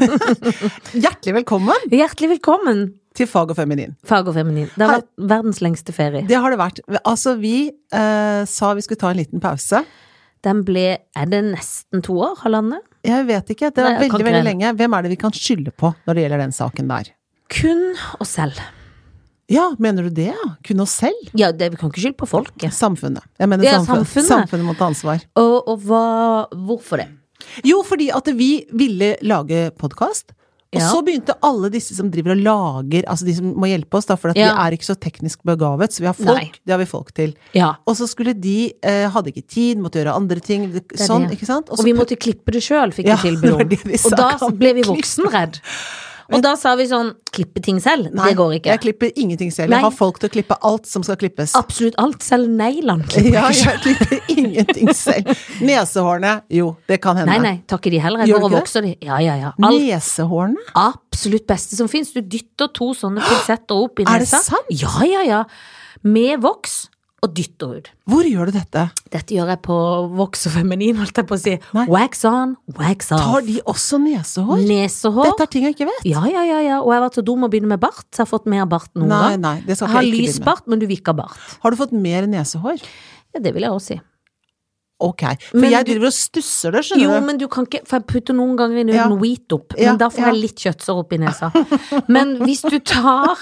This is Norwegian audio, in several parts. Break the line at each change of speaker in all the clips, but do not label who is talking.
Hjertelig velkommen
Hjertelig velkommen,
til Fag og feminin.
fag og feminin. Det har
Hei.
vært verdens lengste ferie.
Det har det vært. Altså, vi eh, sa vi skulle ta en liten pause.
Den ble Er det nesten to år? Halvannet?
Jeg vet ikke. Det var
Nei, jeg
veldig,
kan ikke
veldig
regne.
lenge. Hvem er det vi kan skylde på når det gjelder den saken der?
Kun oss selv.
Ja, mener du det, ja? Kun oss selv?
Ja, det, vi kan ikke skylde på folket.
Samfunnet. Jeg mener
Ja,
samfunnet.
samfunnet.
Samfunnet. må ta ansvar.
Og, og hva Hvorfor det?
Jo, fordi at vi ville lage podkast. Og
Ja.
så begynte alle disse som driver og lager, altså de som må hjelpe oss, da, for at
Ja.
vi er ikke så teknisk begavet, så vi har folk.
Nei.
Det har vi folk til.
Ja.
Og så skulle de, eh, hadde ikke tid, måtte gjøre andre ting, det-
er
sånn,
det.
ikke sant?
Og
så
vi
prøv-
måtte klippe det sjøl, fikk
Ja,
vi tilbud
det var
om.
det vi sa,
Og da
kan
ble vi
klippe.
voksenredd. Og da sa vi sånn Klippe ting selv?
Nei,
det går ikke.
Jeg klipper ingenting selv.
Nei.
Jeg har folk til å klippe alt som skal klippes.
Absolutt alt. Selv neglene klipper
Ja,
jeg ikke.
jeg klipper ingenting selv. Nesehårene, jo, det kan hende.
Nei, nei, tar ikke de heller. Jeg
Gjør
går og
du ikke
vokser de. Ja, ja, ja. Alt
Nesehårene?
absolutt beste som fins. Du dytter to sånne pinsetter opp i
Er
nesa.
det sant?
Ja, ja, ja. Med voks og dytter ut.
Hvor gjør du dette?
Dette gjør jeg på voks og feminin, holdt jeg på å si.
Nei.
Wax on, wax
Tar
off.
de også nesehår?
Nesehår.
Dette er ting jeg ikke vet.
Ja, ja, ja, ja. Og jeg har vært så dum å begynne med bart, så jeg har fått mer bart noen
Nei,
gang.
nei, det skal
Jeg
ikke
har
jeg ikke
lys
begynne med.
bart, men du vil ikke ha bart.
Har du fått mer nesehår?
Ja, det vil jeg også si.
Ok. For
Men
jeg
du-
driver og stusser det,
Jo,
skjønner du.
men du kan ikke For jeg putter noen ganger inn
Ja.
en wheat opp, men
Ja,
da får
ja.
jeg litt kjøttsår opp i nesa. Men hvis du tar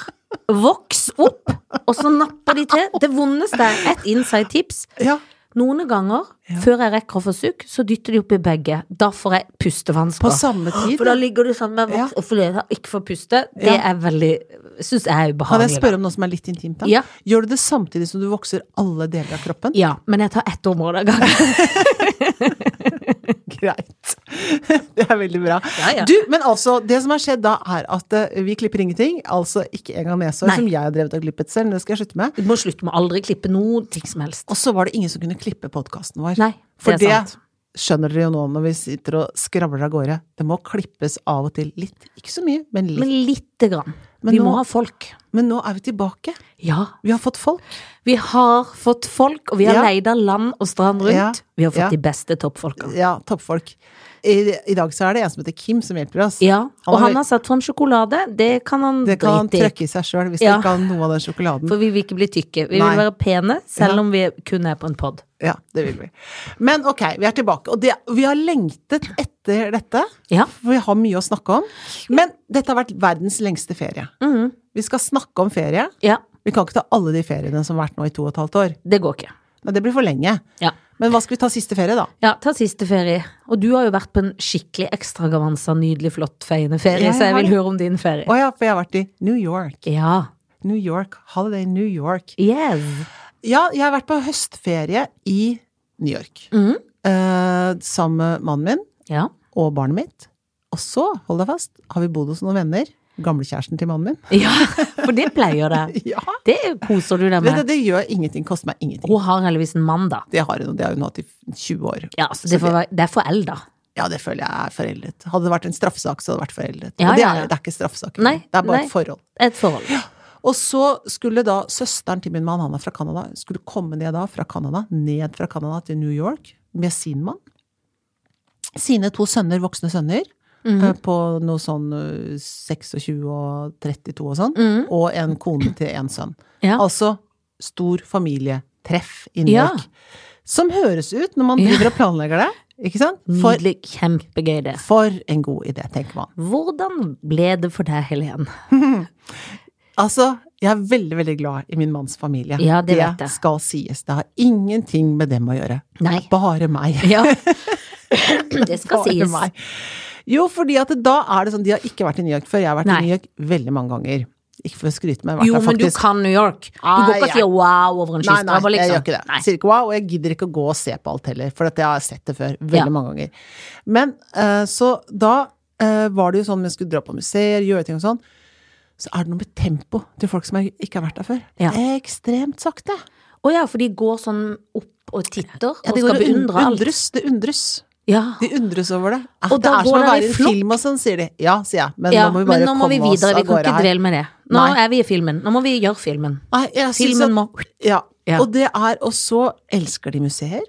voks opp, og så napper de til Det vondeste er et inside tips.
Ja.
Noen ganger,
Ja.
før jeg rekker å få sukk, så dytter de opp i begge. Da får jeg
På
pustevansker.
samme tid.
For da ligger du sammen med voks,
Ja.
og fordi jeg ikke får puste, det
Ja.
er veldig Syns jeg er
Kan
ubehagelig.
jeg spørre om noe som er litt intimt? da?
Ja.
Gjør du det samtidig som du vokser alle deler av kroppen?
Ja, men jeg tar ett område av gangen.
Greit. Det er veldig bra.
Ja, ja.
Du, men altså, det som har skjedd da, er at eh, vi klipper ingenting. Altså ikke engang nesehår,
Nei.
som jeg har drevet og klippet selv, men det skal jeg slutte med.
Du må slutte med å aldri klippe noe ting som helst.
Og så var det ingen som kunne klippe podkasten vår.
Nei, det
For
er
det
sant.
skjønner dere jo nå når vi sitter og skravler av gårde. Det må klippes av og til litt. Ikke så mye, men litt.
Men lite grann.
Men
Vi
nå-
må ha folk.
Men nå er vi tilbake.
Ja,
Vi har fått folk.
Vi har fått folk, og vi har
Ja.
leid av land og strand rundt.
Ja.
Vi har fått
Ja.
de beste toppfolka.
Ja, toppfolk. I, I dag så er det en som heter Kim som hjelper oss.
Ja,
Han
og
har-
han har satt fram sjokolade. Det kan han
Det kan han
drite i.
trøkke i seg sjøl hvis
Ja.
det ikke har noe av den sjokoladen.
For vi vil ikke bli tykke. Vi
Nei.
vil være pene, selv
Ja.
om vi kun er på en pod.
Ja, det vil vi. Men ok, vi er tilbake. Og det, vi har lengtet etter dette,
Ja.
for vi har mye å snakke om. Men dette har vært verdens lengste ferie.
Mhm.
Vi skal snakke om ferie.
ja.
Vi kan ikke ta alle de feriene som har vært nå i to og et halvt år.
Det går ikke.
Nei, det blir for lenge.
Ja.
Men hva skal vi ta siste ferie, da?
ja. Ta siste ferie. Og du har jo vært på en skikkelig ekstravaganza, nydelig, flott, feiende ferie,
Ja, jeg
så jeg
har det.
vil høre om din ferie.
Å ja, for jeg har vært i New York.
Ja.
New York. Holiday in New York.
Yes.
Ja, jeg har vært på høstferie i New York.
Mhm.
Eh, sammen med mannen min
Ja.
og barnet mitt. Og så, hold deg fast, har vi bodd hos noen venner. Gamlekjæresten til mannen min.
ja. For det pleier det.
Ja,
Det koser du deg
det, det,
med.
det gjør ingenting, koster meg ingenting.
Hun har heldigvis en mann, da.
Det har hun, og det har hun hatt i 20 år.
Ja, Altså, så det, får være- det er forelda.
Ja, det føler jeg er foreldet. Hadde det vært en straffesak, så hadde det vært foreldet.
Ja,
og det
ja,
er,
ja.
det er ikke straffesak.
Nei,
det er bare
nei.
et forhold.
Et forhold.
Og så skulle da søsteren til min mann, han er fra Canada, skulle komme ned da fra Canada, ned fra Canada til New York med sin mann. Sine to sønner, voksne sønner,
Mhm.
eh, på noe sånn eh, 26 og 32 og sånn.
Mhm.
Og en kone til en sønn.
Ja.
Altså stor familietreff i New
Ja.
York. Som høres ut når man
Ja.
driver og planlegger det. Ikke sant? For,
Nydelig. Kjempegøy, det.
for en god idé, tenker man.
Hvordan ble det for deg, Helen?
Altså, jeg er veldig, veldig glad i min manns familie.
Ja, det vet jeg.
skal sies. Det har ingenting med dem å gjøre.
Nei.
Bare meg.
Ja. Det skal
Bare
sies.
meg. Jo, fordi at da er det sånn, de har ikke vært i New York før. Jeg har vært
Nei.
i New York veldig mange ganger. Ikke for å skryte, men jeg
Jo,
har vært
men
der
du
faktisk.
kan New York. Du går ikke og
Ai,
sier wow over en
Nei, nei,
skyskraper,
jeg
liksom.
gjør ikke det. Sier ikke wow, og jeg gidder ikke å gå og se på alt heller, for at jeg har sett det før veldig
Ja.
mange ganger. Men eh, så da eh, var det jo sånn, vi skulle dra på museer, gjøre ting og sånn, så er det noe med tempo til folk som er, ikke har vært der før.
Ja.
Ekstremt sakte.
Å ja, for de går sånn opp og titter
Ja,
og
det går
skal
og und-
beundre alt.
undres, det undres.
Ja.
De undres over det. Eh,
Og
det
da
er som
går
å
dere i
være i en
flokk.
film og sånn, sier de. Ja, sier jeg, men
ja.
nå må vi
Men
bare
nå må
komme
vi videre.
oss
Vi
av
kan
gårde
ikke
her.
dvele med det. Nå
Nei.
er vi i filmen. Nå må vi gjøre filmen.
Nei, jeg synes
Filmen
at-
må
Ja.
Ja.
Og det er Og så elsker de museer.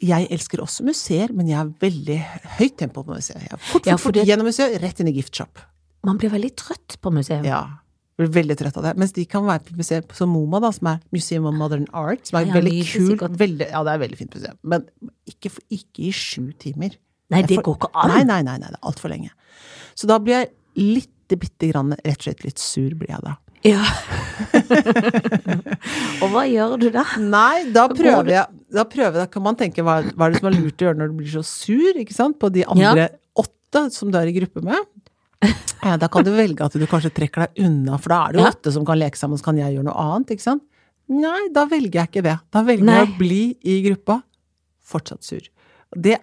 jeg elsker også museer, men jeg har veldig høyt tempo på museet. Jeg er fort, fort,
Ja, for
fort
det-
gjennom museet, rett inn i giftshop.
Man blir veldig trøtt på museum.
Ja. Blir veldig trøtt av det. Mens de kan være på museet som MoMA, da, som er Museum of Modern Art, som er
Ja,
veldig
nydelig,
kult.
sikkert.
Veldig, ja, det er et veldig fint museum. Men ikke, for, ikke i sju timer.
Nei,
Jeg
det
får-
går ikke an.
Nei, nei, nei, nei det er altfor lenge. Så da blir jeg lite bitte grann, rett og slett litt sur blir jeg da.
Ja. og hva gjør du da?
Nei, da
Da går
prøver
du-
jeg, da prøver jeg, da kan man tenke hva, hva er det som er lurt å gjøre når du blir så sur, ikke sant, på de andre åtte som du er i gruppe med. Ja, da kan du velge at du kanskje trekker deg unna, for da er det jo
Ja.
åtte som kan leke sammen, så kan jeg gjøre noe annet, ikke sant. Nei, da velger jeg ikke det. Da velger
Nei.
jeg å bli i gruppa, fortsatt sur. Det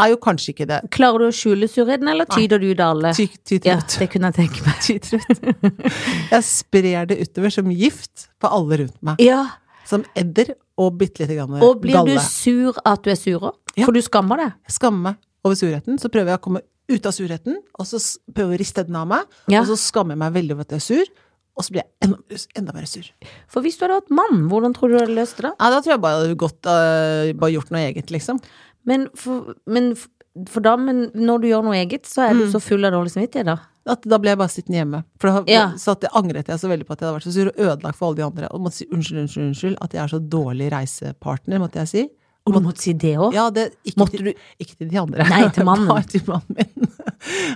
er jo kanskje ikke det.
Klarer du å skjule surheten, eller tyder du det alle?
Ty, ty,
Ja,
trøtt.
det kunne jeg tenke meg.
Jeg sprer det utover som gift på alle rundt meg.
Ja,
Som edder og bitte lite grann
Og blir du
galle.
sur at du er sur òg?
Ja.
For du skammer deg?
Skamme meg over surheten, så prøver jeg å komme ut av surheten, og så s- prøver jeg å riste den av meg,
Ja.
og så skammer jeg meg veldig over at jeg er sur, og så blir jeg enda, enda mer sur.
For hvis du hadde vært mann, hvordan tror du du hadde løst det da?
Nei, da tror jeg bare jeg hadde gått, eh, bare gjort noe eget, liksom.
Men for, men f- for da, men når du gjør noe eget, så er du
Mm.
så full av dårlig samvittighet, da.
At da ble jeg bare sittende hjemme. For da
Ja.
så at det angret jeg så veldig på at jeg hadde vært så sur, og ødelagt for alle de andre. Og måtte si unnskyld, unnskyld, unnskyld, at jeg er så dårlig reisepartner, måtte jeg si.
Og du måtte si det òg?
Ja, det, ikke,
Måtte
til, ikke til de andre.
Nei, til mannen.
Bare til mannen min.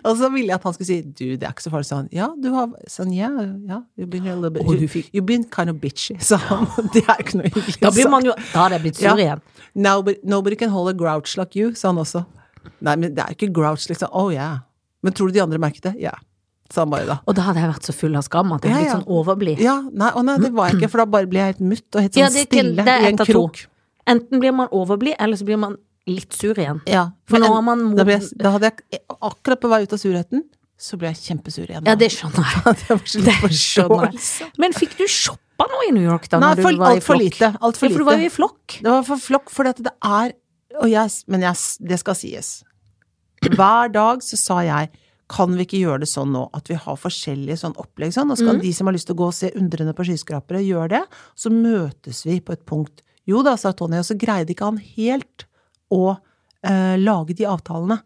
og så ville jeg at han skulle si du, det er ikke så farlig. Sa han ja, du har sånn, ja, ja, you've been a little bit
Og du fikk-
You've been kind of bitchy, sa han. det er jo ikke noe hyggelig.
Da blir
sagt.
man jo Da hadde jeg blitt sur
Ja.
igjen.
Nobody, nobody can hold a grouch like you, sa han også. Nei, men det er ikke grouch, liksom. Oh yeah. Men tror du de andre merket det? Ja. Sa han bare da.
Og da hadde jeg vært så full av skam at jeg
Ja,
hadde blitt
ja.
sånn overblid.
Ja, nei, å nei, det var jeg ikke, for da bare ble jeg helt mutt og helt sånn
Ja, det er ikke-
stille
det er
i en
ett av to.
krok.
Enten blir man overblid, eller så blir man litt sur igjen.
Ja,
For
men
nå
en-
har man
da,
moden-
ble jeg, da hadde jeg akkurat på vei ut av surheten, så ble jeg kjempesur igjen.
Ja, det skjønner jeg.
Det var så litt
Det skjønner
forståelse.
jeg. Men fikk du shoppa noe i New York, da?
Nei,
når du
for,
var i
alt for
flokk?
lite. Alt for
ja, for du var jo
lite.
i flokk.
Det var for flokk, for det er og jeg, Men jeg, det skal sies. Hver dag så sa jeg kan vi ikke gjøre det sånn nå, at vi har forskjellige sånn opplegg sånn, og så
Mm.
kan de som har lyst til å gå og se undrende på skyskrapere, gjøre det, så møtes vi på et punkt. Jo da, sa Tonje, og så greide ikke han helt å eh, lage de avtalene.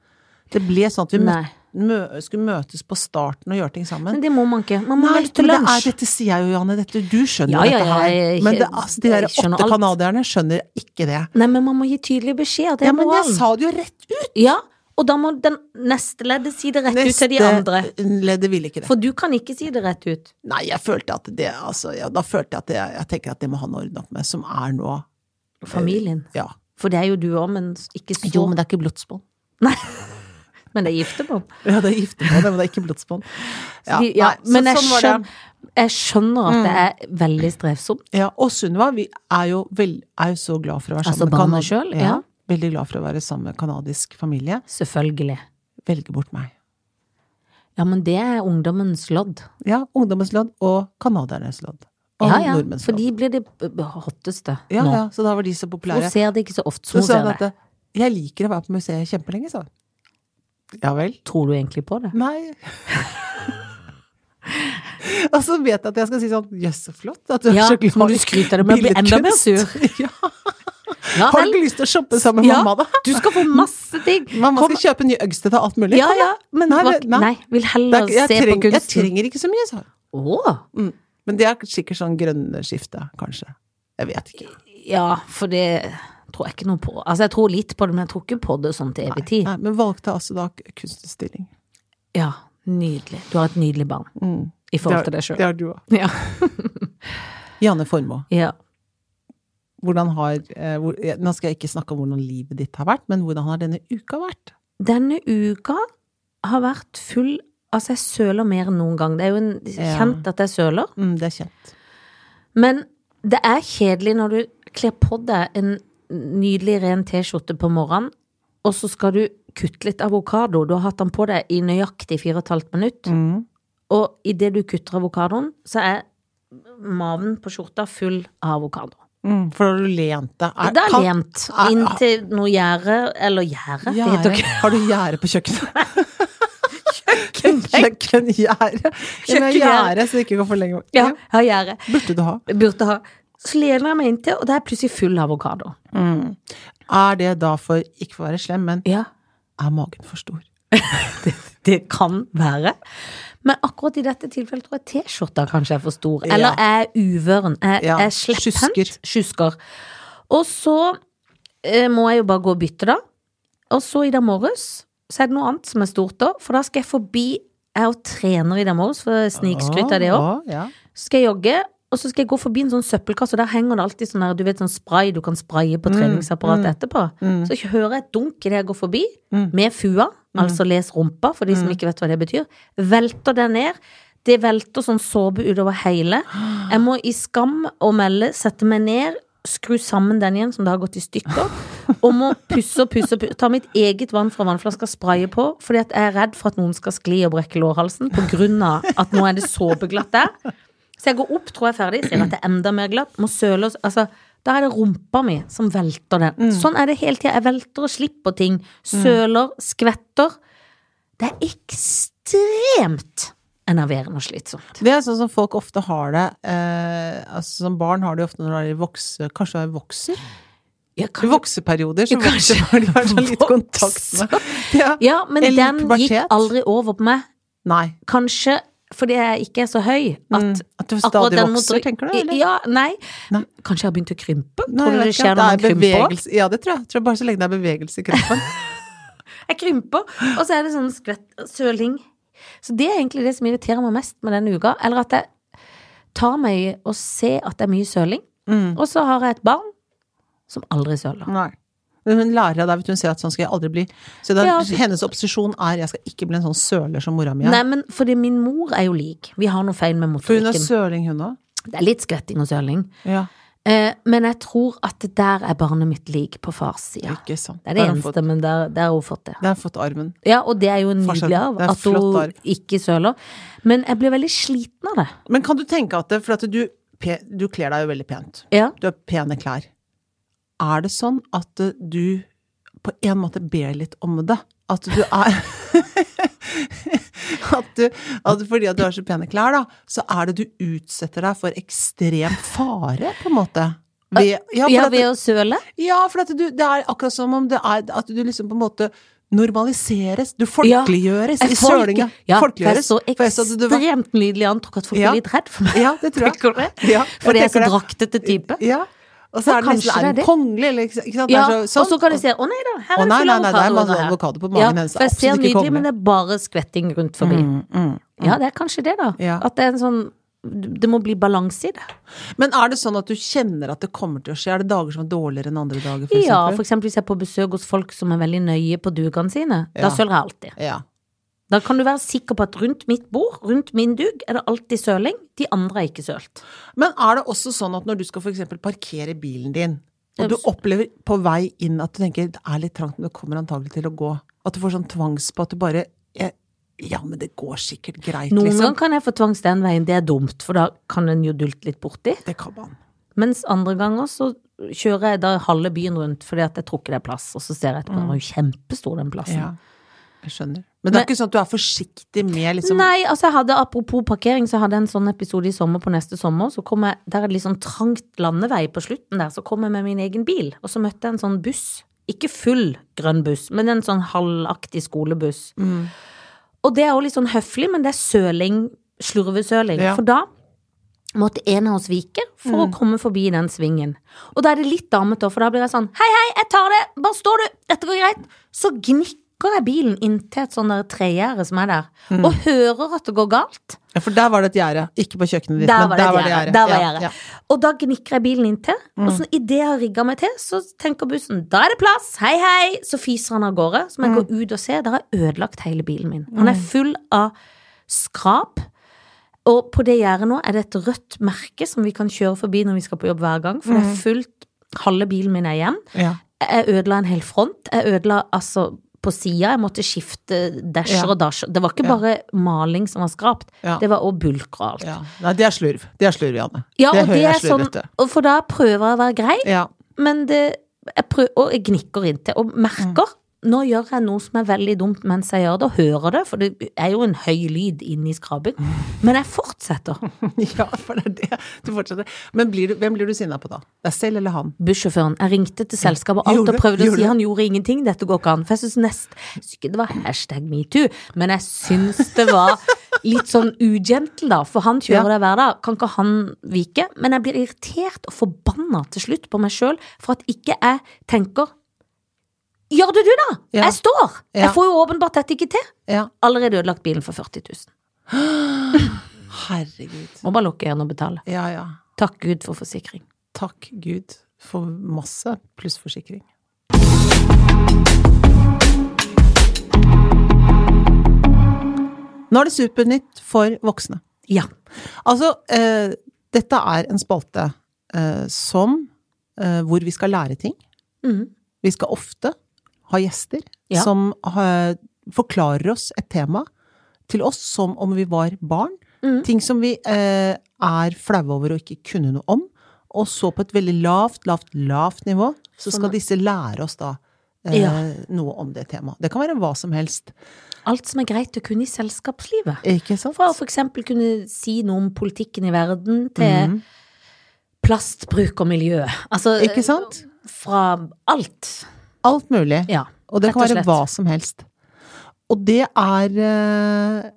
Det ble sånn at vi møt,
Nei.
mø, skulle møtes på starten og gjøre ting sammen.
Men det må man ikke. Man må
Nei,
være litt til
men det
lunsj.
er, dette sier jeg jo, Janne. Dette, du skjønner
Ja,
jo
ja,
dette her.
jeg-
men det, altså, de der
jeg skjønner
åtte
alt.
canadierne skjønner ikke det.
Nei, men man må gi tydelig beskjed. at Det er
Ja, men jeg
moralen.
sa det jo rett ut!
Ja, og da må den neste leddet si det rett ut til de andre.
leddet ville ikke det.
For du kan ikke si det rett ut.
Nei, jeg følte at det altså, ja, Da følte jeg at det, jeg tenker at det må han ordne opp med, som er nå
Familien.
Ja.
For det er jo du òg, men ikke så
det er ikke blodsbånd.
Men det er giftermål.
Ja, det er giftermål, men det er ikke blodsbånd. Ja,
De- ja,
nei, så
men jeg,
sånn var det. Mm.
skjønner, jeg skjønner at det er veldig strevsomt.
Ja, og Sunniva vi er jo, vel, er jo så glad for å være
Altså,
sammen med
barna
Kanad-
selv, ja.
Veldig glad for å være sammen med kanadisk familie.
Selvfølgelig.
Velge bort meg.
Ja, men det er ungdommens lodd.
Ja, ungdommens lodd og canadiernes lodd. Og
Ja, ja.
nordmenns
For
lodd.
de blir det b- b- hotteste
Ja,
nå.
ja, så da var de så
Hun
populære.
ser det ikke så ofte
Så
som hun
sa
ser
hun at
det.
eh, jeg liker å være på museet kjempelenge, sa hun. Ja vel?
Tror du egentlig på det?
Nei. og så vet jeg at jeg skal si sånn jøss, så flott at du er
Ja,
så glad
så må du skryte av det, men bli enda mer
billedkunst. ja.
Ja
Har du
vel,
ikke lyst til å shoppe sammen med
Ja.
mamma, da?
du skal få masse ting!
Mamma
Kom-
skal kjøpe nye Øgsted og alt mulig.
ja,
Kom,
ja, men
Nei,
nei,
det- nei.
nei. vil
Det
heller
er, ikke- jeg,
se på
trenger, jeg
kunsten.
trenger ikke så mye, sa hun.
Åh.
Mm. Men det er sikkert sånn grønne skifte, kanskje. Jeg vet ikke.
Ja, for det tror jeg ikke noe på. Altså, jeg tror litt på det, men jeg tror ikke på det sånn til evig tid.
Nei, men valgte altså da k- kunstutstilling.
Ja, nydelig. Du har et nydelig barn
Mm.
i forhold til
det
deg
har-
sjøl.
Det har du òg.
Ja.
Janne Formoe,
ja.
hvordan har eh, hvor, eh, Nå skal jeg ikke snakke om hvordan livet ditt har vært, men hvordan har denne uka vært?
Denne uka har vært full Altså, jeg søler mer enn noen gang. Det er jo en,
Ja.
kjent at jeg søler.
Mm, det er kjent.
Men det er kjedelig når du kler på deg en nydelig ren T-skjorte på morgenen, og så skal du kutte litt avokado. Du har hatt den på deg i nøyaktig fire og et halvt minutt.
Mm.
Og idet du kutter avokadoen, så er maven på skjorta full av avokado.
Mm, for da har du lent deg. Er-
Det er
kan-
lent
er-
inn til noe gjerde, eller gjerde, det heter
Gjære.
ikke
Har du gjære på kjøkkenet? Kjøkkengjære. Kjøkkengjære, så det ikke går for lenge.
Ja, jeg har gjerde.
Burde du ha?
Burde ha. Så lener jeg meg inntil, og det er plutselig full avokado.
Mm. Er det da for Ikke for å være slem, men
Ja,
er magen for stor?
det, det kan være. Men akkurat i dette tilfellet tror jeg T-skjorta kanskje er for stor.
Ja.
Eller er uvøren. Er,
Ja,
er slepphendt.
sjusker.
Sjusker. Og så eh, må jeg jo bare gå og bytte, da. Og så i dag morges så er det noe annet som er stort, da. For da skal jeg forbi Jeg er jo trener i dag morges, for snikskryt av det òg.
Å, ja.
Så skal jeg jogge, og så skal jeg gå forbi en sånn søppelkasse, og der henger det alltid sånn der, du vet, sånn spray du kan spraye på treningsapparatet etterpå. Så jeg hører et dunk idet jeg går forbi, med fua, altså les rumpa, for de som ikke vet hva det betyr. Velter det ned. Det velter sånn såpe utover hele. Jeg må i skam å melde sette meg ned, skru sammen den igjen som det har gått i stykker, og må pusse og pusse og pusse. Ta mitt eget vann fra vannflaska, spraye på, fordi at jeg er redd for at noen skal skli og brekke lårhalsen på grunn av at nå er det såpeglatt der. Så jeg går opp, tror jeg er ferdig, ser at det er enda mer glatt, må søle oss Altså, da er det rumpa mi som velter den.
Mm.
Sånn er det hele tida. Jeg velter og slipper ting. Søler, skvetter. Det er ekstremt enerverende og slitsomt.
Det er sånn som folk ofte har det. Eh, altså Som barn har de ofte når de er i vokse, kanskje de vokser.
Ja,
I vokseperioder så
Kanskje.
vokser har de kanskje litt
Voks.
kontakt med ja.
ja men
Eller
den
pubertet.
gikk aldri over på meg.
Nei.
Kanskje fordi jeg ikke er så høy at
At du
Mm.
Mm.
akkurat
stadig
den
vokser,
motor-
tenker du? Eller?
Ja, nei.
Nei.
Kanskje jeg har begynt å krympe?
Nei,
tror du
jeg
det
vet ikke,
skjer når man
det er
krymper?
bevegelse- Ja, det tror jeg. jeg. Tror bare så lenge det er bevegelse i kroppen.
Jeg krymper, og så er det sånn skvett søling. Så det er egentlig det som irriterer meg mest med denne uka. Eller at jeg tar meg i å se at det er mye søling,
Mm.
og så har jeg et barn som aldri søler.
Nei. Men Hun lærer av deg, vet du, hun sier at sånn skal jeg aldri bli. Så det er,
Ja, for-
hennes opposisjon er jeg skal ikke bli en sånn søler som mora mi er.
Nei, men fordi min mor er jo lik. Vi har noe feil med
For hun er
motorikken.
søling, hun òg.
Det er litt skvetting og søling.
Ja,
Eh, men jeg tror at der er barnet mitt lik på fars side.
ikke sant.
Det er det
Der har hun fått-
eneste, men der, der har hun fått det.
Der har hun fått arven.
Ja, og det er jo nydelig
Forskjell.
av
Det er
at
flott
hun
arv.
ikke søler. Men jeg blir veldig sliten av det.
Men kan du tenke at det, for at du, pe- du kler deg jo veldig pent.
Ja.
Du har pene klær. Er det sånn at eh, du på en måte ber litt om det? At du er at du, at Fordi at du har så pene klær, da, så er det du utsetter deg for ekstrem fare, på en måte. Ved, ja,
Ja,
for at,
ved å søle.
ja, for at du, det er akkurat som om det er at du liksom på en måte normaliseres. Du
Ja.
folkeliggjøres
Jeg
i sølinga.
Ja, for jeg
Folkeliggjøres.
så
For jeg så at du var-
ekstremt nydelig an. Tror at folk
Ja.
blir litt redd for meg.
Ja, det tror jeg.
Tenker du det?
Ja, jeg
Fordi jeg er
tenker det.
så draktete type.
Ja. Og så
Ja,
er det
kanskje
nesten
det
er
er det.
den kongelig, eller ikke ikke sant?
Ja,
Det er sånn.
og så kan du se Å nei da, her
Å,
er det
nei,
full
nei, nei, det er
avokado
masse
under her.
avokado på magen hennes,
for jeg
absolutt
ser
ikke
nydelig,
kongelig.
men det er bare skvetting rundt forbi.
Mm,
Ja, det er kanskje det, da.
Ja.
At det er en sånn Det må bli balanse i det.
Men er det sånn at du kjenner at det kommer til å skje? Er det dager som er dårligere enn andre dager, for
Ja, for
eksempel?
eksempel hvis jeg er på besøk hos folk som er veldig nøye på dugene sine.
Ja.
Da søler jeg alltid.
Ja.
Da kan du være sikker på at rundt mitt bord, rundt min dug, er det alltid søling. De andre er ikke sølt.
Men er det også sånn at når du skal for eksempel parkere bilen din, og du
Yes.
opplever på vei inn at du tenker det er litt trangt, men det kommer antagelig til å gå, at du får sånn tvangs på at du bare eh, Ja, men det går sikkert greit,
Noen
liksom.
ganger kan jeg få tvangs den veien, det er dumt, for da kan en jo dulte litt borti.
Det kan man.
Mens andre ganger så kjører jeg da halve byen rundt fordi at jeg tror ikke det er plass, og så ser jeg etterpå, den var jo kjempestor den plassen.
Mm. Ja. altså. Jeg skjønner. Men det
Men-
er ikke sånn at du er forsiktig med liksom
Nei, altså jeg hadde, apropos parkering, så hadde jeg en sånn episode i sommer på neste sommer. Så kom jeg, Der er det litt sånn trangt landevei på slutten der, så kom jeg med min egen bil. Og så møtte jeg en sånn buss. Ikke full grønn buss, men en sånn halvaktig skolebuss. Og det er jo litt sånn høflig, men det er søling, slurvesøling.
Ja.
For da måtte en av oss vike for å komme forbi den svingen. Og da er det litt damete, for da blir jeg sånn Hei, hei, jeg tar det! Bare stå, du! Dette går greit! Så gnikker jeg bilen inntil et sånn der tregjerde som er der, og hører at det går galt.
Ja, for der var det et gjerde. Ikke på kjøkkenet ditt,
Der
men
var det
der var
et
det
gjerde.
gjerde.
Der var
Ja, Mm.
gjerdet.
ja.
Og da gnikker jeg bilen inntil, og så idet jeg har rigga meg til, så tenker bussen da er det plass, hei hei, så fiser han av gårde. Så
Mm.
må jeg gå ut og se, der har jeg ødelagt hele bilen min. Han er full av skrap. Og på det gjerdet nå er det et rødt merke som vi kan kjøre forbi når vi skal på jobb hver gang, for
Mm.
det er fullt Halve bilen min er igjen.
Ja.
Jeg ødela en hel front. Jeg ødela altså på sida. Jeg måtte skifte dasher
Ja.
og dasher. Det var ikke bare maling som var skrapt,
Ja.
det var òg bulker og alt.
Ja. Nei, det er slurv. Det er slurv, Janne.
Ja,
det
og det
hører
er
jeg slurv,
sånn,
vet du.
og for da prøver jeg å være grei,
Ja.
men det jeg prøver, og jeg gnikker inntil og merker nå gjør jeg noe som er veldig dumt mens jeg gjør det, og hører det, for det er jo en høy lyd inni skrabben. Men jeg fortsetter.
Ja, for det er det. Du fortsetter. Men blir du, hvem blir du sinna på da? Det er selv eller han?
Bussjåføren. Jeg ringte til selskapet og alt
Gjorde
og
du?
prøvde å
Gjorde
si
du?
han gjorde ingenting, dette går ikke an. For jeg syns nest jeg synes ikke det var hashtag metoo, men jeg syns det var litt sånn ugentle, da. For han kjører
Ja.
det hver dag, kan ikke han vike? Men jeg blir irritert og forbanna til slutt på meg sjøl for at ikke jeg tenker Gjør det du, da!
Ja.
Jeg står!
Ja.
Jeg får jo åpenbart dette ikke til.
Ja.
Allerede ødelagt bilen for 40 000.
Herregud.
Må bare lukke øynene og betale.
Ja, ja.
Takk Gud for forsikring.
Takk Gud for masse plussforsikring. Nå er det Supernytt for voksne.
Ja.
Altså, eh, dette er en spalte eh, som eh, Hvor vi skal lære ting.
Mhm.
Vi skal ofte ha gjester
Ja.
som eh, forklarer oss et tema til oss som om vi var barn.
Mhm.
Ting som vi eh, er flaue over og ikke kunne noe om. Og så på et veldig lavt, lavt, lavt nivå, så
Sånn
skal
at-
disse lære oss da eh,
Ja.
noe om det temaet. Det kan være hva som helst.
Alt som er greit å kunne i selskapslivet.
Ikke sant?
For å for eksempel kunne si noe om politikken i verden til
Mm.
plastbruk og miljø. Altså
Ikke sant?
fra alt.
Alt mulig.
Ja.
Og det
rett
kan
og
være
slett.
hva som helst. Og det er eh,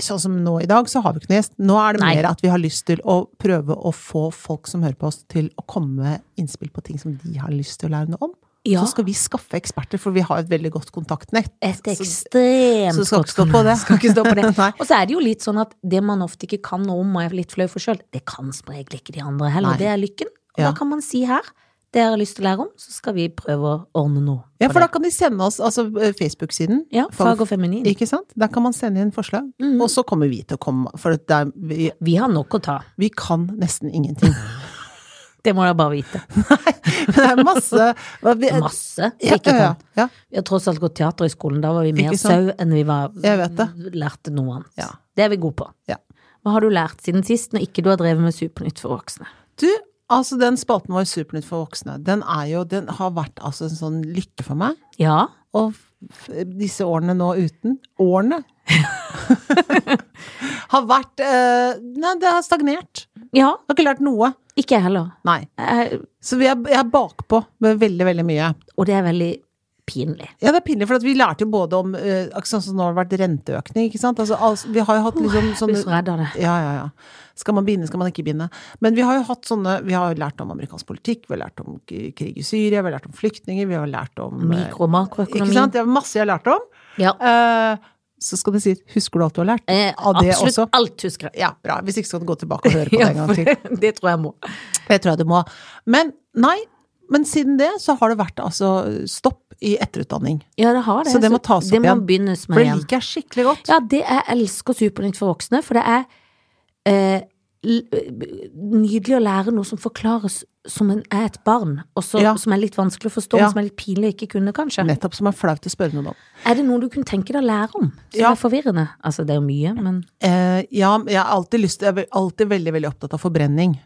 Sånn som nå i dag, så har vi ikke noe gjest. Nå er det
Nei.
mer at vi har lyst til å prøve å få folk som hører på oss, til å komme med innspill på ting som de har lyst til å lære noe om.
Ja.
Så skal vi skaffe eksperter, for vi har et veldig godt kontaktnett.
Et
Så-
ekstremt
så det skal
godt
ikke stå på det.
Skal ikke stå på det.
Nei.
Og så er det jo litt sånn at det man ofte ikke kan noe om og er litt flau for sjøl, det kan som regel ikke de andre heller.
Nei.
Det er lykken. Og
Ja.
da kan man si her det dere har lyst til å lære om, så skal vi prøve å ordne noe.
Ja,
på
for da
det.
kan de sende oss altså eh, Facebook-siden.
ja, fag og feminin.
Ikke sant? Der kan man sende inn forslag.
Mhm.
Og så kommer vi til å komme For det er, vi,
Vi har nok å ta.
vi kan nesten ingenting.
Det må dere bare vite.
Men det er masse hva vi,
Masse.
Ja,
Ikke
ja,
kan.
ja.
Vi har tross alt gått teaterhøgskolen. Da var vi mer
Ikke sant?
sau enn vi var,
Jeg vet det.
lærte noe annet.
Ja.
Det er vi gode på.
Ja.
Hva har du lært siden sist, når ikke du har drevet med Supernytt for voksne?
Du, altså den spalten vår Supernytt for voksne, den er jo Den har vært altså en sånn lykke for meg.
Ja.
Og f- disse årene nå uten Årene! har vært eh, Nei, det har stagnert.
Ja,
Har ikke lært noe.
ikke jeg heller.
Nei.
Jeg,
Så vi er, jeg er bakpå med veldig, veldig mye.
og det er veldig pinlig.
Ja, det er pinlig, for at vi lærte jo både om eh, akkurat Sånn som nå har det vært renteøkning, ikke sant. Altså, altså, vi har jo hatt liksom
Jeg blir
sånne
så redd av det.
Ja, ja, ja. Skal man binde, skal man ikke binde. Men vi har jo hatt sånne Vi har jo lært om amerikansk politikk, vi har lært om k- krig i Syria, vi har lært om flyktninger, vi har lært om eh,
Mikro- og
Ikke
makroøkonomi.
sant? Det er masse jeg har lært om.
Ja.
Eh, så skal du si Husker du alt du har lært?
Eh,
Av det
absolutt
også?
alt husker jeg.
Ja, bra. Hvis ikke skal du gå tilbake og høre på det
Ja,
en gang
for
til.
det, det tror jeg må.
Jeg tror jeg du må. Men nei. Men siden det så har det vært altså stopp i etterutdanning.
Ja, det har det.
Så det må tas opp
det må
igjen.
begynnes
For
med
det
igjen.
liker jeg skikkelig godt.
Ja, det jeg elsker Supernytt for voksne, for det er eh, l- nydelig å lære noe som forklares som en, er et barn, og så-
Ja.
som er litt vanskelig å forstå,
Ja.
men som er litt pinlig å ikke kunne, kanskje.
Nettopp som er flaut å spørre noen om.
Er det noe du kunne tenke deg å lære om, som
Ja.
er forvirrende? Altså, det er jo mye, men
Eh, ja, men jeg, har alltid lyst, jeg er vel- alltid veldig veldig opptatt av forbrenning.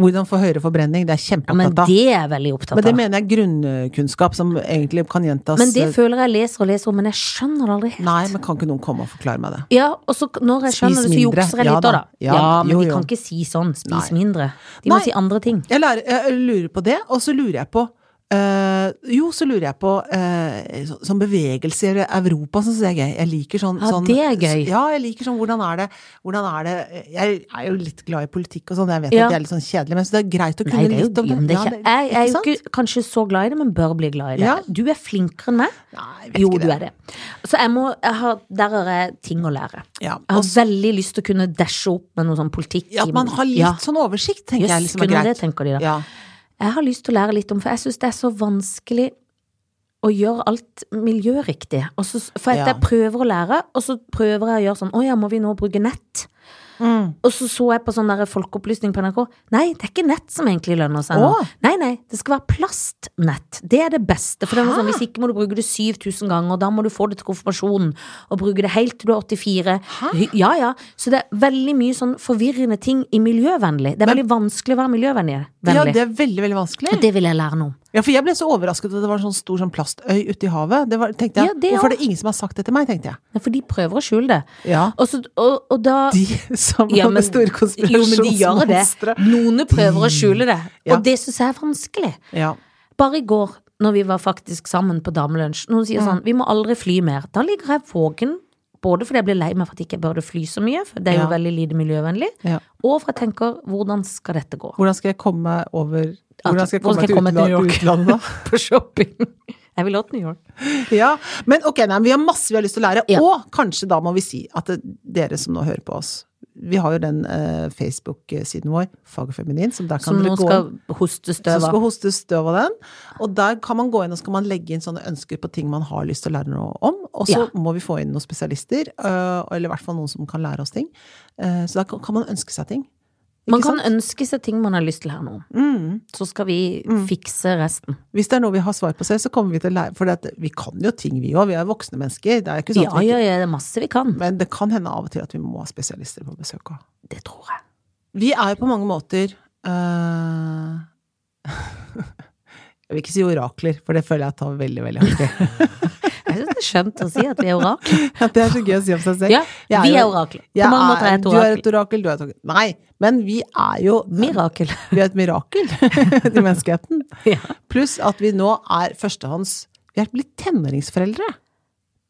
Hvordan få høyere forbrenning. Det er jeg
ja, Men
kjempeopptatt av.
det er jeg veldig opptatt
Men det
av.
mener jeg er grunnkunnskap som egentlig kan gjentas eh,
Men det føler jeg leser og leser om, men jeg skjønner det aldri helt.
Nei, men kan ikke noen komme og forklare meg det?
Ja, og så k- når jeg
Spis
skjønner det, så
mindre.
jukser jeg
Ja
litt òg, da.
da.
Ja,
Ja,
men
jo,
de
jo.
kan ikke si sånn, spis
Nei.
mindre. De må
Nei.
si andre ting.
Jeg, lærer, jeg lurer på det, og så lurer jeg på eh, Jo, så lurer jeg på eh, så, sånn bevegelse i Europa, sånn syns jeg er gøy. Jeg liker sånn,
Ja,
sånn
det er gøy.
Ja, jeg liker sånn hvordan er det Hvordan er det Jeg er jo litt glad i politikk og sånn, jeg vet
Ja.
at det er litt sånn kjedelig, men så det er greit å kunne
Nei, det er jo
litt om det.
ja, men det er
Ja,
ikke, jeg, jeg er jo
sant?
ikke kanskje så glad i det, men bør bli glad i det.
Ja.
Du er flinkere enn meg.
Nei, jeg vet
Jo,
ikke
du
det.
er det. Så jeg må, jeg har, der har jeg ting å lære.
Ja,
Jeg har
og
veldig lyst til å kunne dashe opp med noe sånn politikk.
Ja, at man har litt
Ja.
sånn oversikt, tenker
Jøss,
jeg liksom er
kunne det,
greit.
tenker de da.
Ja.
Jeg har lyst til å lære litt om, for jeg syns det er så vanskelig å gjøre alt miljøriktig. Og så, for at
Ja.
jeg prøver å lære, og så prøver jeg å gjøre sånn Å ja, må vi nå bruke nett?
Mm.
Og så så jeg på sånn der folkeopplysning på NRK. Nei, det er ikke nett som egentlig lønner seg nå.
Åh.
Nei, nei, det skal være plastnett. Det er det beste. For det er noe sånn,
Hæ?
hvis ikke må du bruke det 7000 ganger, og da må du få det til konfirmasjonen. Og bruke det helt til du er 84.
Hæ?
Hy- Ja, ja. Så det er veldig mye sånn forvirrende ting i miljøvennlig. Det er
Men-
veldig vanskelig å være miljøvennlig.
ja,
vennlig.
det er veldig, veldig vanskelig.
Og det vil jeg lære noe om.
Ja, for jeg ble så overrasket at det var en sånn stor sånn plastøy ute i havet. Det var, tenkte jeg,
Ja, det
Hvorfor
også.
er det ingen som har sagt det til meg, tenkte jeg.
Nei, For de prøver å skjule det.
Ja.
Og, så, og, og da
De som
Ja,
hadde
men-
store
Jo, men de gjør det.
konspirasjonsmonstre.
Noen prøver å skjule det.
Ja.
Og det syns jeg er vanskelig.
Ja.
Bare i går, når vi var faktisk sammen på damelunsj, noen sier sånn Vi må aldri fly mer. Da ligger jeg våken, både fordi jeg ble lei meg for at jeg ikke burde fly så mye, for det er jo
Ja.
veldig lite miljøvennlig,
Ja.
og for jeg tenker hvordan skal dette gå?
Hvordan skal jeg komme over Hvordan skal jeg komme
Hvordan skal jeg
til
komme til New
utla-
York?
utlandet, da?
På shopping. Jeg vil til New York.
Ja, men ok, nei, men vi har masse vi har lyst til å lære.
Ja.
Og kanskje da må vi si at det- dere som nå hører på oss Vi har jo den eh, Facebook-siden vår, Fag og feminin, som der kan
Som
dere
nå
gå
skal
inn.
hoste
Som
støv
skal
av.
hoste støv av den. Og der kan man gå inn og så kan man legge inn sånne ønsker på ting man har lyst til å lære noe om. Og så
Ja.
må vi få inn noen spesialister, øh, eller i hvert fall noen som kan lære oss ting. Eh, så da kan kan man ønske seg ting. Ikke
Man kan
sant?
ønske seg ting man har lyst til her nå.
Mm.
Så skal vi fikse resten.
Hvis det er noe vi har svar på selv, så kommer vi til å lære. For det at vi kan jo ting, vi òg. Vi er voksne mennesker. Det er ikke sånn
Ja,
at vi ikke
ja, ja, det er masse vi kan.
Men det kan hende av og til at vi må ha spesialister på besøk òg.
Det tror jeg.
Vi er jo på mange måter eh, Jeg vil ikke si orakler, for det føler jeg tar veldig veldig hardt i.
Jeg syns det er skjønt å si at vi er orakler.
At Det er så gøy å si om seg selv.
Ja,
Jeg
vi er
jo-
orakler. På
Jeg
mange måter er jeg et
Du er et
orakel.
orakel, du er et orakel. Nei, men vi er jo
Mirakel.
Vi er et mirakel til menneskeheten.
Ja.
Pluss at vi nå er førstehånds Vi er blitt tenåringsforeldre.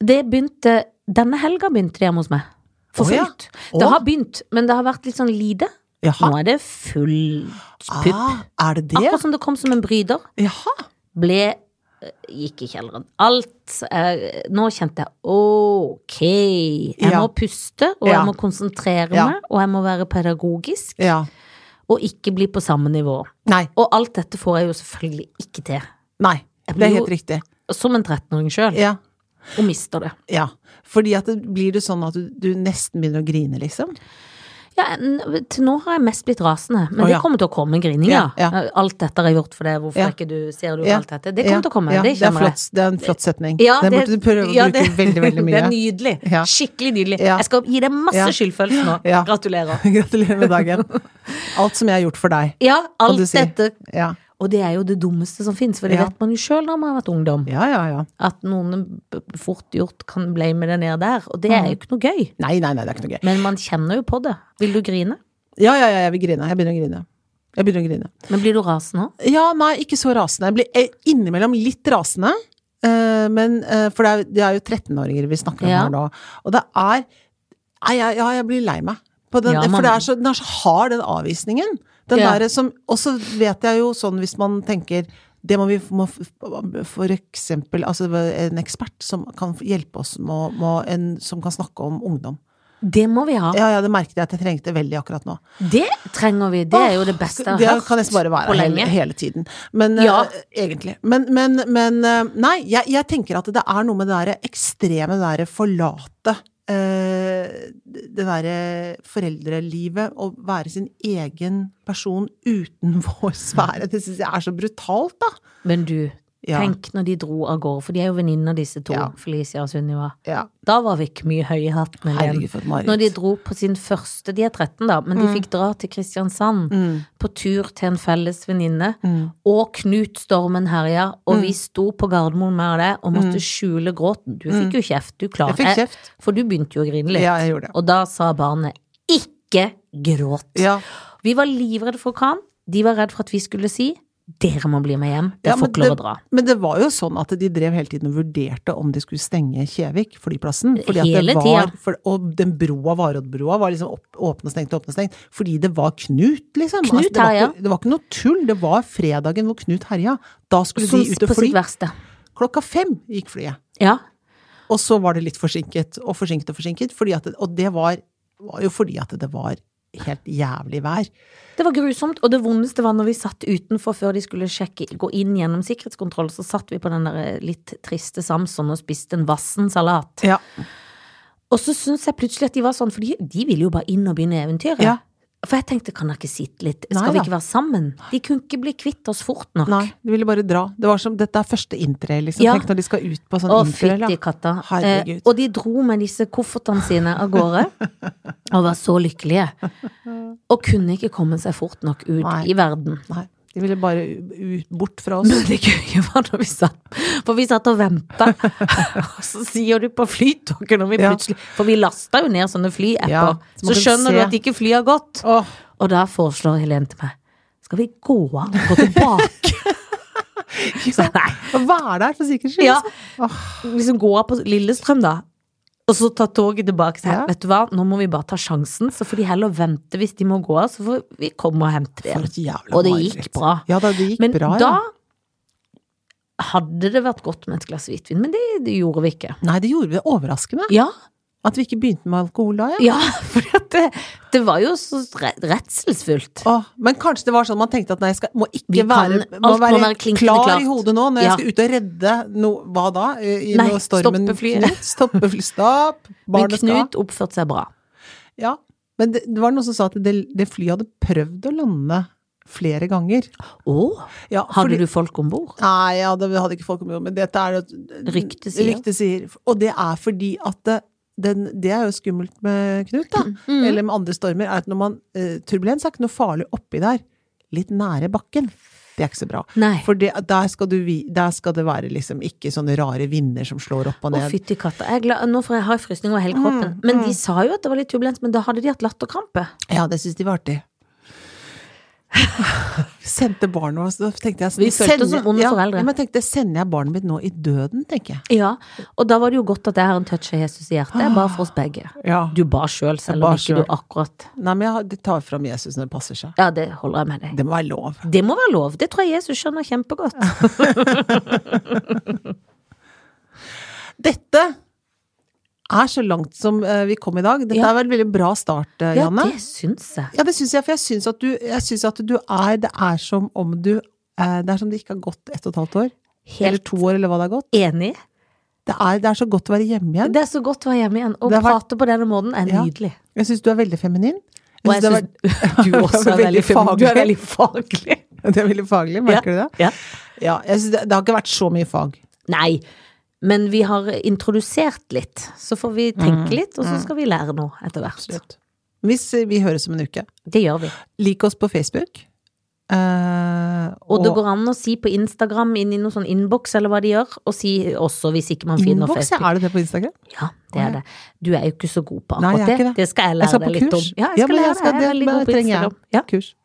Det begynte Denne helga begynte det hjemme hos meg. For
Å, ja.
fullt.
Å.
Det har begynt, men det har vært litt sånn lite. Nå
Jaha.
er det fullt pupp.
Ah, er det det?
Akkurat som det kom som en bryder.
Jaha.
Ble eh, Gikk i kjelleren. Alt eh, Nå kjente jeg ok, jeg
Ja.
må puste, og
Ja.
jeg må konsentrere
Ja.
meg, og jeg må være pedagogisk,
Ja.
og ikke bli på samme nivå.
Nei.
Og alt dette får jeg jo selvfølgelig ikke til.
Nei.
Jeg
Det
blir
er
jo-
helt riktig.
Som en 13-åring sjøl,
Ja.
og mister det.
Ja, fordi at det blir det sånn at du, du nesten begynner å grine, liksom?
Ja, n- til nå har jeg mest blitt rasende, men
Å,
det
ja.
kommer til å komme grininger.
Ja, ja.
Alt dette har jeg gjort for deg, hvorfor
Ja.
er ikke du, ser du
Ja,
alt dette? Det kommer
Ja,
til å komme,
ja,
det
er
kjenner jeg.
flott, det er en flott setning.
Ja,
Den
det-
burde du prøve å
ja,
bruke
det-
veldig, veldig
Det
mye.
er nydelig.
Ja.
Skikkelig nydelig.
Ja.
Jeg skal gi deg masse
Ja.
skyldfølelse nå.
Ja.
Gratulerer.
Gratulerer med dagen. Alt som jeg har gjort for deg.
Ja, alt
du si.
dette.
Ja,
Og det er jo det dummeste som fins, for det
Ja.
vet man jo sjøl når man har vært ungdom.
ja, ja. ja.
At noen b- b- fort gjort kan blame det ned der, og
Mm.
det er jo ikke noe gøy.
Nei, nei, nei, det er ikke noe gøy.
Men man kjenner jo på det. Vil du grine?
Ja, ja, ja, jeg vil grine. Jeg begynner å grine. Jeg begynner å grine.
Men blir du rasende òg?
Ja, nei, ikke så rasende. Jeg blir eh, innimellom litt rasende. eh, Men, eh, for det er, jo- det er jo 13-åringer vi snakker om
Ja.
her nå. Og det er Nei, jeg, ja, jeg blir lei meg. På den,
Ja,
For
man-
det er så, den er så hard, den avvisningen. Den
Ja.
derre som Og så vet jeg jo sånn hvis man tenker det må vi må f- for eksempel altså en ekspert som kan hjelpe oss med, å- med å- en, som kan snakke om ungdom.
Det må vi ha.
Ja, ja, det merket jeg at jeg trengte veldig akkurat nå.
Det trenger vi. Det er jo det beste jeg har
Det kan nesten bare
hørt på
være hele,
lenge.
hele tiden. Men
Ja.
eh, egentlig. Men, men, men eh, Nei, jeg, jeg tenker at det er noe med det derre ekstreme, det derre forlate eh, Det derre foreldrelivet, å være sin egen person uten vår sfære. Det syns jeg er så brutalt, da.
Men du,
Ja.
tenk når de dro av gårde, for de er jo venninner disse to,
Ja.
Felicia og Sunniva.
Ja.
Da var vi ikke mye høy i hatten. Helen.
Herregud, for et mareritt.
Når de dro på sin første De er 13, da, men de
Mm.
fikk dra til Kristiansand på tur til en felles venninne.
mm.
Og Knut Stormen herja, og vi sto på Gardermoen med det og måtte skjule gråten. Du fikk jo kjeft, du
Mm.
klarte
Jeg fikk kjeft.
For du begynte jo å grine litt.
Ja, jeg gjorde det.
Og da sa barnet 'ikke gråt'.
Ja.
Vi var livredde for orkan. De var redd for at vi skulle si 'dere må bli med hjem',
Ja,
dere får
men
ikke lov
det-
å dra'.
Men det var jo sånn at de drev hele tiden og vurderte om de skulle stenge Kjevik, flyplassen. Fordi at
Hele
det var,
tida.
for, og den broa, Varoddbrua, var liksom opp, åpne og stengt, åpne og stengt. Fordi det var Knut, liksom.
Knut
det, var
herja.
ikke, det var ikke noe tull. Det var fredagen hvor Knut herja. Da skulle
Som
de ut og
på
sånn fly.
sitt verste.
Klokka fem gikk flyet.
Ja.
Og så var det litt forsinket, og forsinket og forsinket. Fordi at, det- og det var, var jo fordi at det var helt jævlig vær.
Det var grusomt, og det vondeste var når vi satt utenfor før de skulle sjekke, gå inn gjennom sikkerhetskontroll, så satt vi på den der eh, litt triste Samson og spiste en Vassen-salat.
Ja.
Og så syns jeg plutselig at de var sånn, for de, de ville jo bare inn og begynne eventyret.
Ja.
For jeg tenkte, kan dere ikke sitte litt? Skal
Nei
vi
da.
ikke være sammen? De kunne ikke bli kvitt oss fort nok.
Nei, de ville bare dra. Det var som, dette er første intrail, liksom.
Ja.
Tenk når de skal ut på sånn
Å,
intrail.
fytti
ja.
katta. Eh,
Herregud.
og de dro med disse koffertene sine av gårde, og var så lykkelige. Og kunne ikke komme seg fort nok ut
Nei.
i verden.
Nei. De ville bare u- ut, bort fra oss.
Men det gøye var når vi satt For vi satt og venta, og så sier du på flytoget når vi
Ja.
plutselig For vi lasta jo ned sånne flyapper.
Ja, så man
så
kan
skjønner du
se.
at ikke flyet har gått.
Åh,
Og da foreslår Helen til meg Skal vi gå av og gå tilbake? Så jeg, nei,
vær der for sikkerhets skyld!
Ja.
liksom. Åh,
liksom gå av på Lillestrøm, da. Og så ta toget tilbake. Så jeg,
Ja.
Vet du hva, nå må vi bare ta sjansen, så får de heller vente hvis de må gå av. Så får vi komme og hente
for
dem.
et jævla
Og det
mareritt.
gikk bra.
Ja da, det gikk
Men
bra,
da
ja.
hadde det vært godt med et glass hvitvin, men det, det gjorde vi ikke.
Nei, det gjorde vi overraskende.
Ja,
At vi ikke begynte med alkohol da, ja.
ja for at det, det var jo så re- redselsfullt.
Åh, men kanskje det var sånn man tenkte at nei, jeg skal, må
Vi
ikke
kan-
være,
alt
må
må
være
være klinkende
klar
klart.
i hodet nå når
Ja.
jeg skal ut og redde noe Hva da? I, i
Nei,
når stormen
stoppe flyet.
Knut, Stoppe flyet. Stopp!
Men
Barnet skal
Knut oppførte seg bra.
Ja. Men det, det var noen som sa at det, det flyet hadde prøvd å lande flere ganger.
Å,
Ja,
hadde
fordi-
du folk om bord?
Nei, ja, det hadde ikke folk kommet men dette er det
Ryktet sier.
Ryktet sier. Og det er fordi at det, den, det er jo skummelt med Knut, da.
Mm.
Eller med andre stormer. Er at når man, eh, turbulens er ikke noe farlig oppi der. Litt nære bakken. Det er ikke så bra.
Nei.
For det, der, skal du, vi- der skal det være liksom ikke sånne rare vinder som slår opp og
Å,
ned.
fytti katta. Jeg er glad- Nå får jeg ha frysning over hele
Mm,
kroppen. Men de sa jo at det var litt turbulens, men da hadde de hatt latterkrampe.
Ja, det syns de var artig. Vi Sendte barnet oss Da tenkte jeg sånn,
Vi følte oss som
sender-
onde
ja,
foreldre.
ja, Men jeg tenkte, sender jeg barnet mitt nå i døden, tenker jeg.
Ja, og da var det jo godt at jeg har en touch av Jesus i hjertet, bare for oss begge.
Ja.
Du ba sjøl, selv om
ba
ikke du
Ah. selv.
akkurat
Nei, men jeg har- det tar fram Jesus når det passer seg.
Ja, det holder jeg med deg.
Det må være lov.
Det må være lov. Det tror jeg Jesus skjønner kjempegodt.
Dette er så langt som eh, vi kom i dag. Dette
Ja.
er vel en veldig bra start, eh,
Ja,
Janne.
det syns jeg.
Ja, det syns jeg, for jeg syns at du, jeg synes at du er Det er som om du eh, Det er som det ikke har gått ett og et halvt år. Eller
Helt
to år, eller hva det har gått.
enig.
Det er, det er så godt å være hjemme igjen.
Det er så godt å være hjemme igjen. Å
Det har vært-
prate på denne måten er
Ja.
nydelig.
Jeg syns du er veldig feminin.
Og
synes
jeg
det
syns du også er veldig faglig. Du er veldig faglig.
var- det er veldig faglig, merker du det?
Ja.
Ja, jeg synes det, det har ikke vært så mye fag.
Nei, men vi har introdusert litt. Så får vi tenke litt, og så skal vi lære noe etter hvert.
Mm. Absolutt. Hvis eh, vi høres om en uke,
Det gjør vi.
lik oss på Facebook. eh,
Og det går an å si på Instagram, inn i noen sånn innboks eller hva de gjør, og si også hvis ikke man finner
Innboks, ja.
Facebook.
Er det det på Instagram?
Ja, det er det. Du er jo ikke så god på
Nei, jeg
akkurat
er ikke
det.
det.
Det skal jeg
Jeg
lære
skal
deg
på
litt
kurs.
om. Ja, jeg skal
men
lære deg. Jeg er veldig
men
god på
trenger jeg.
Instagram. Ja.
Kurs.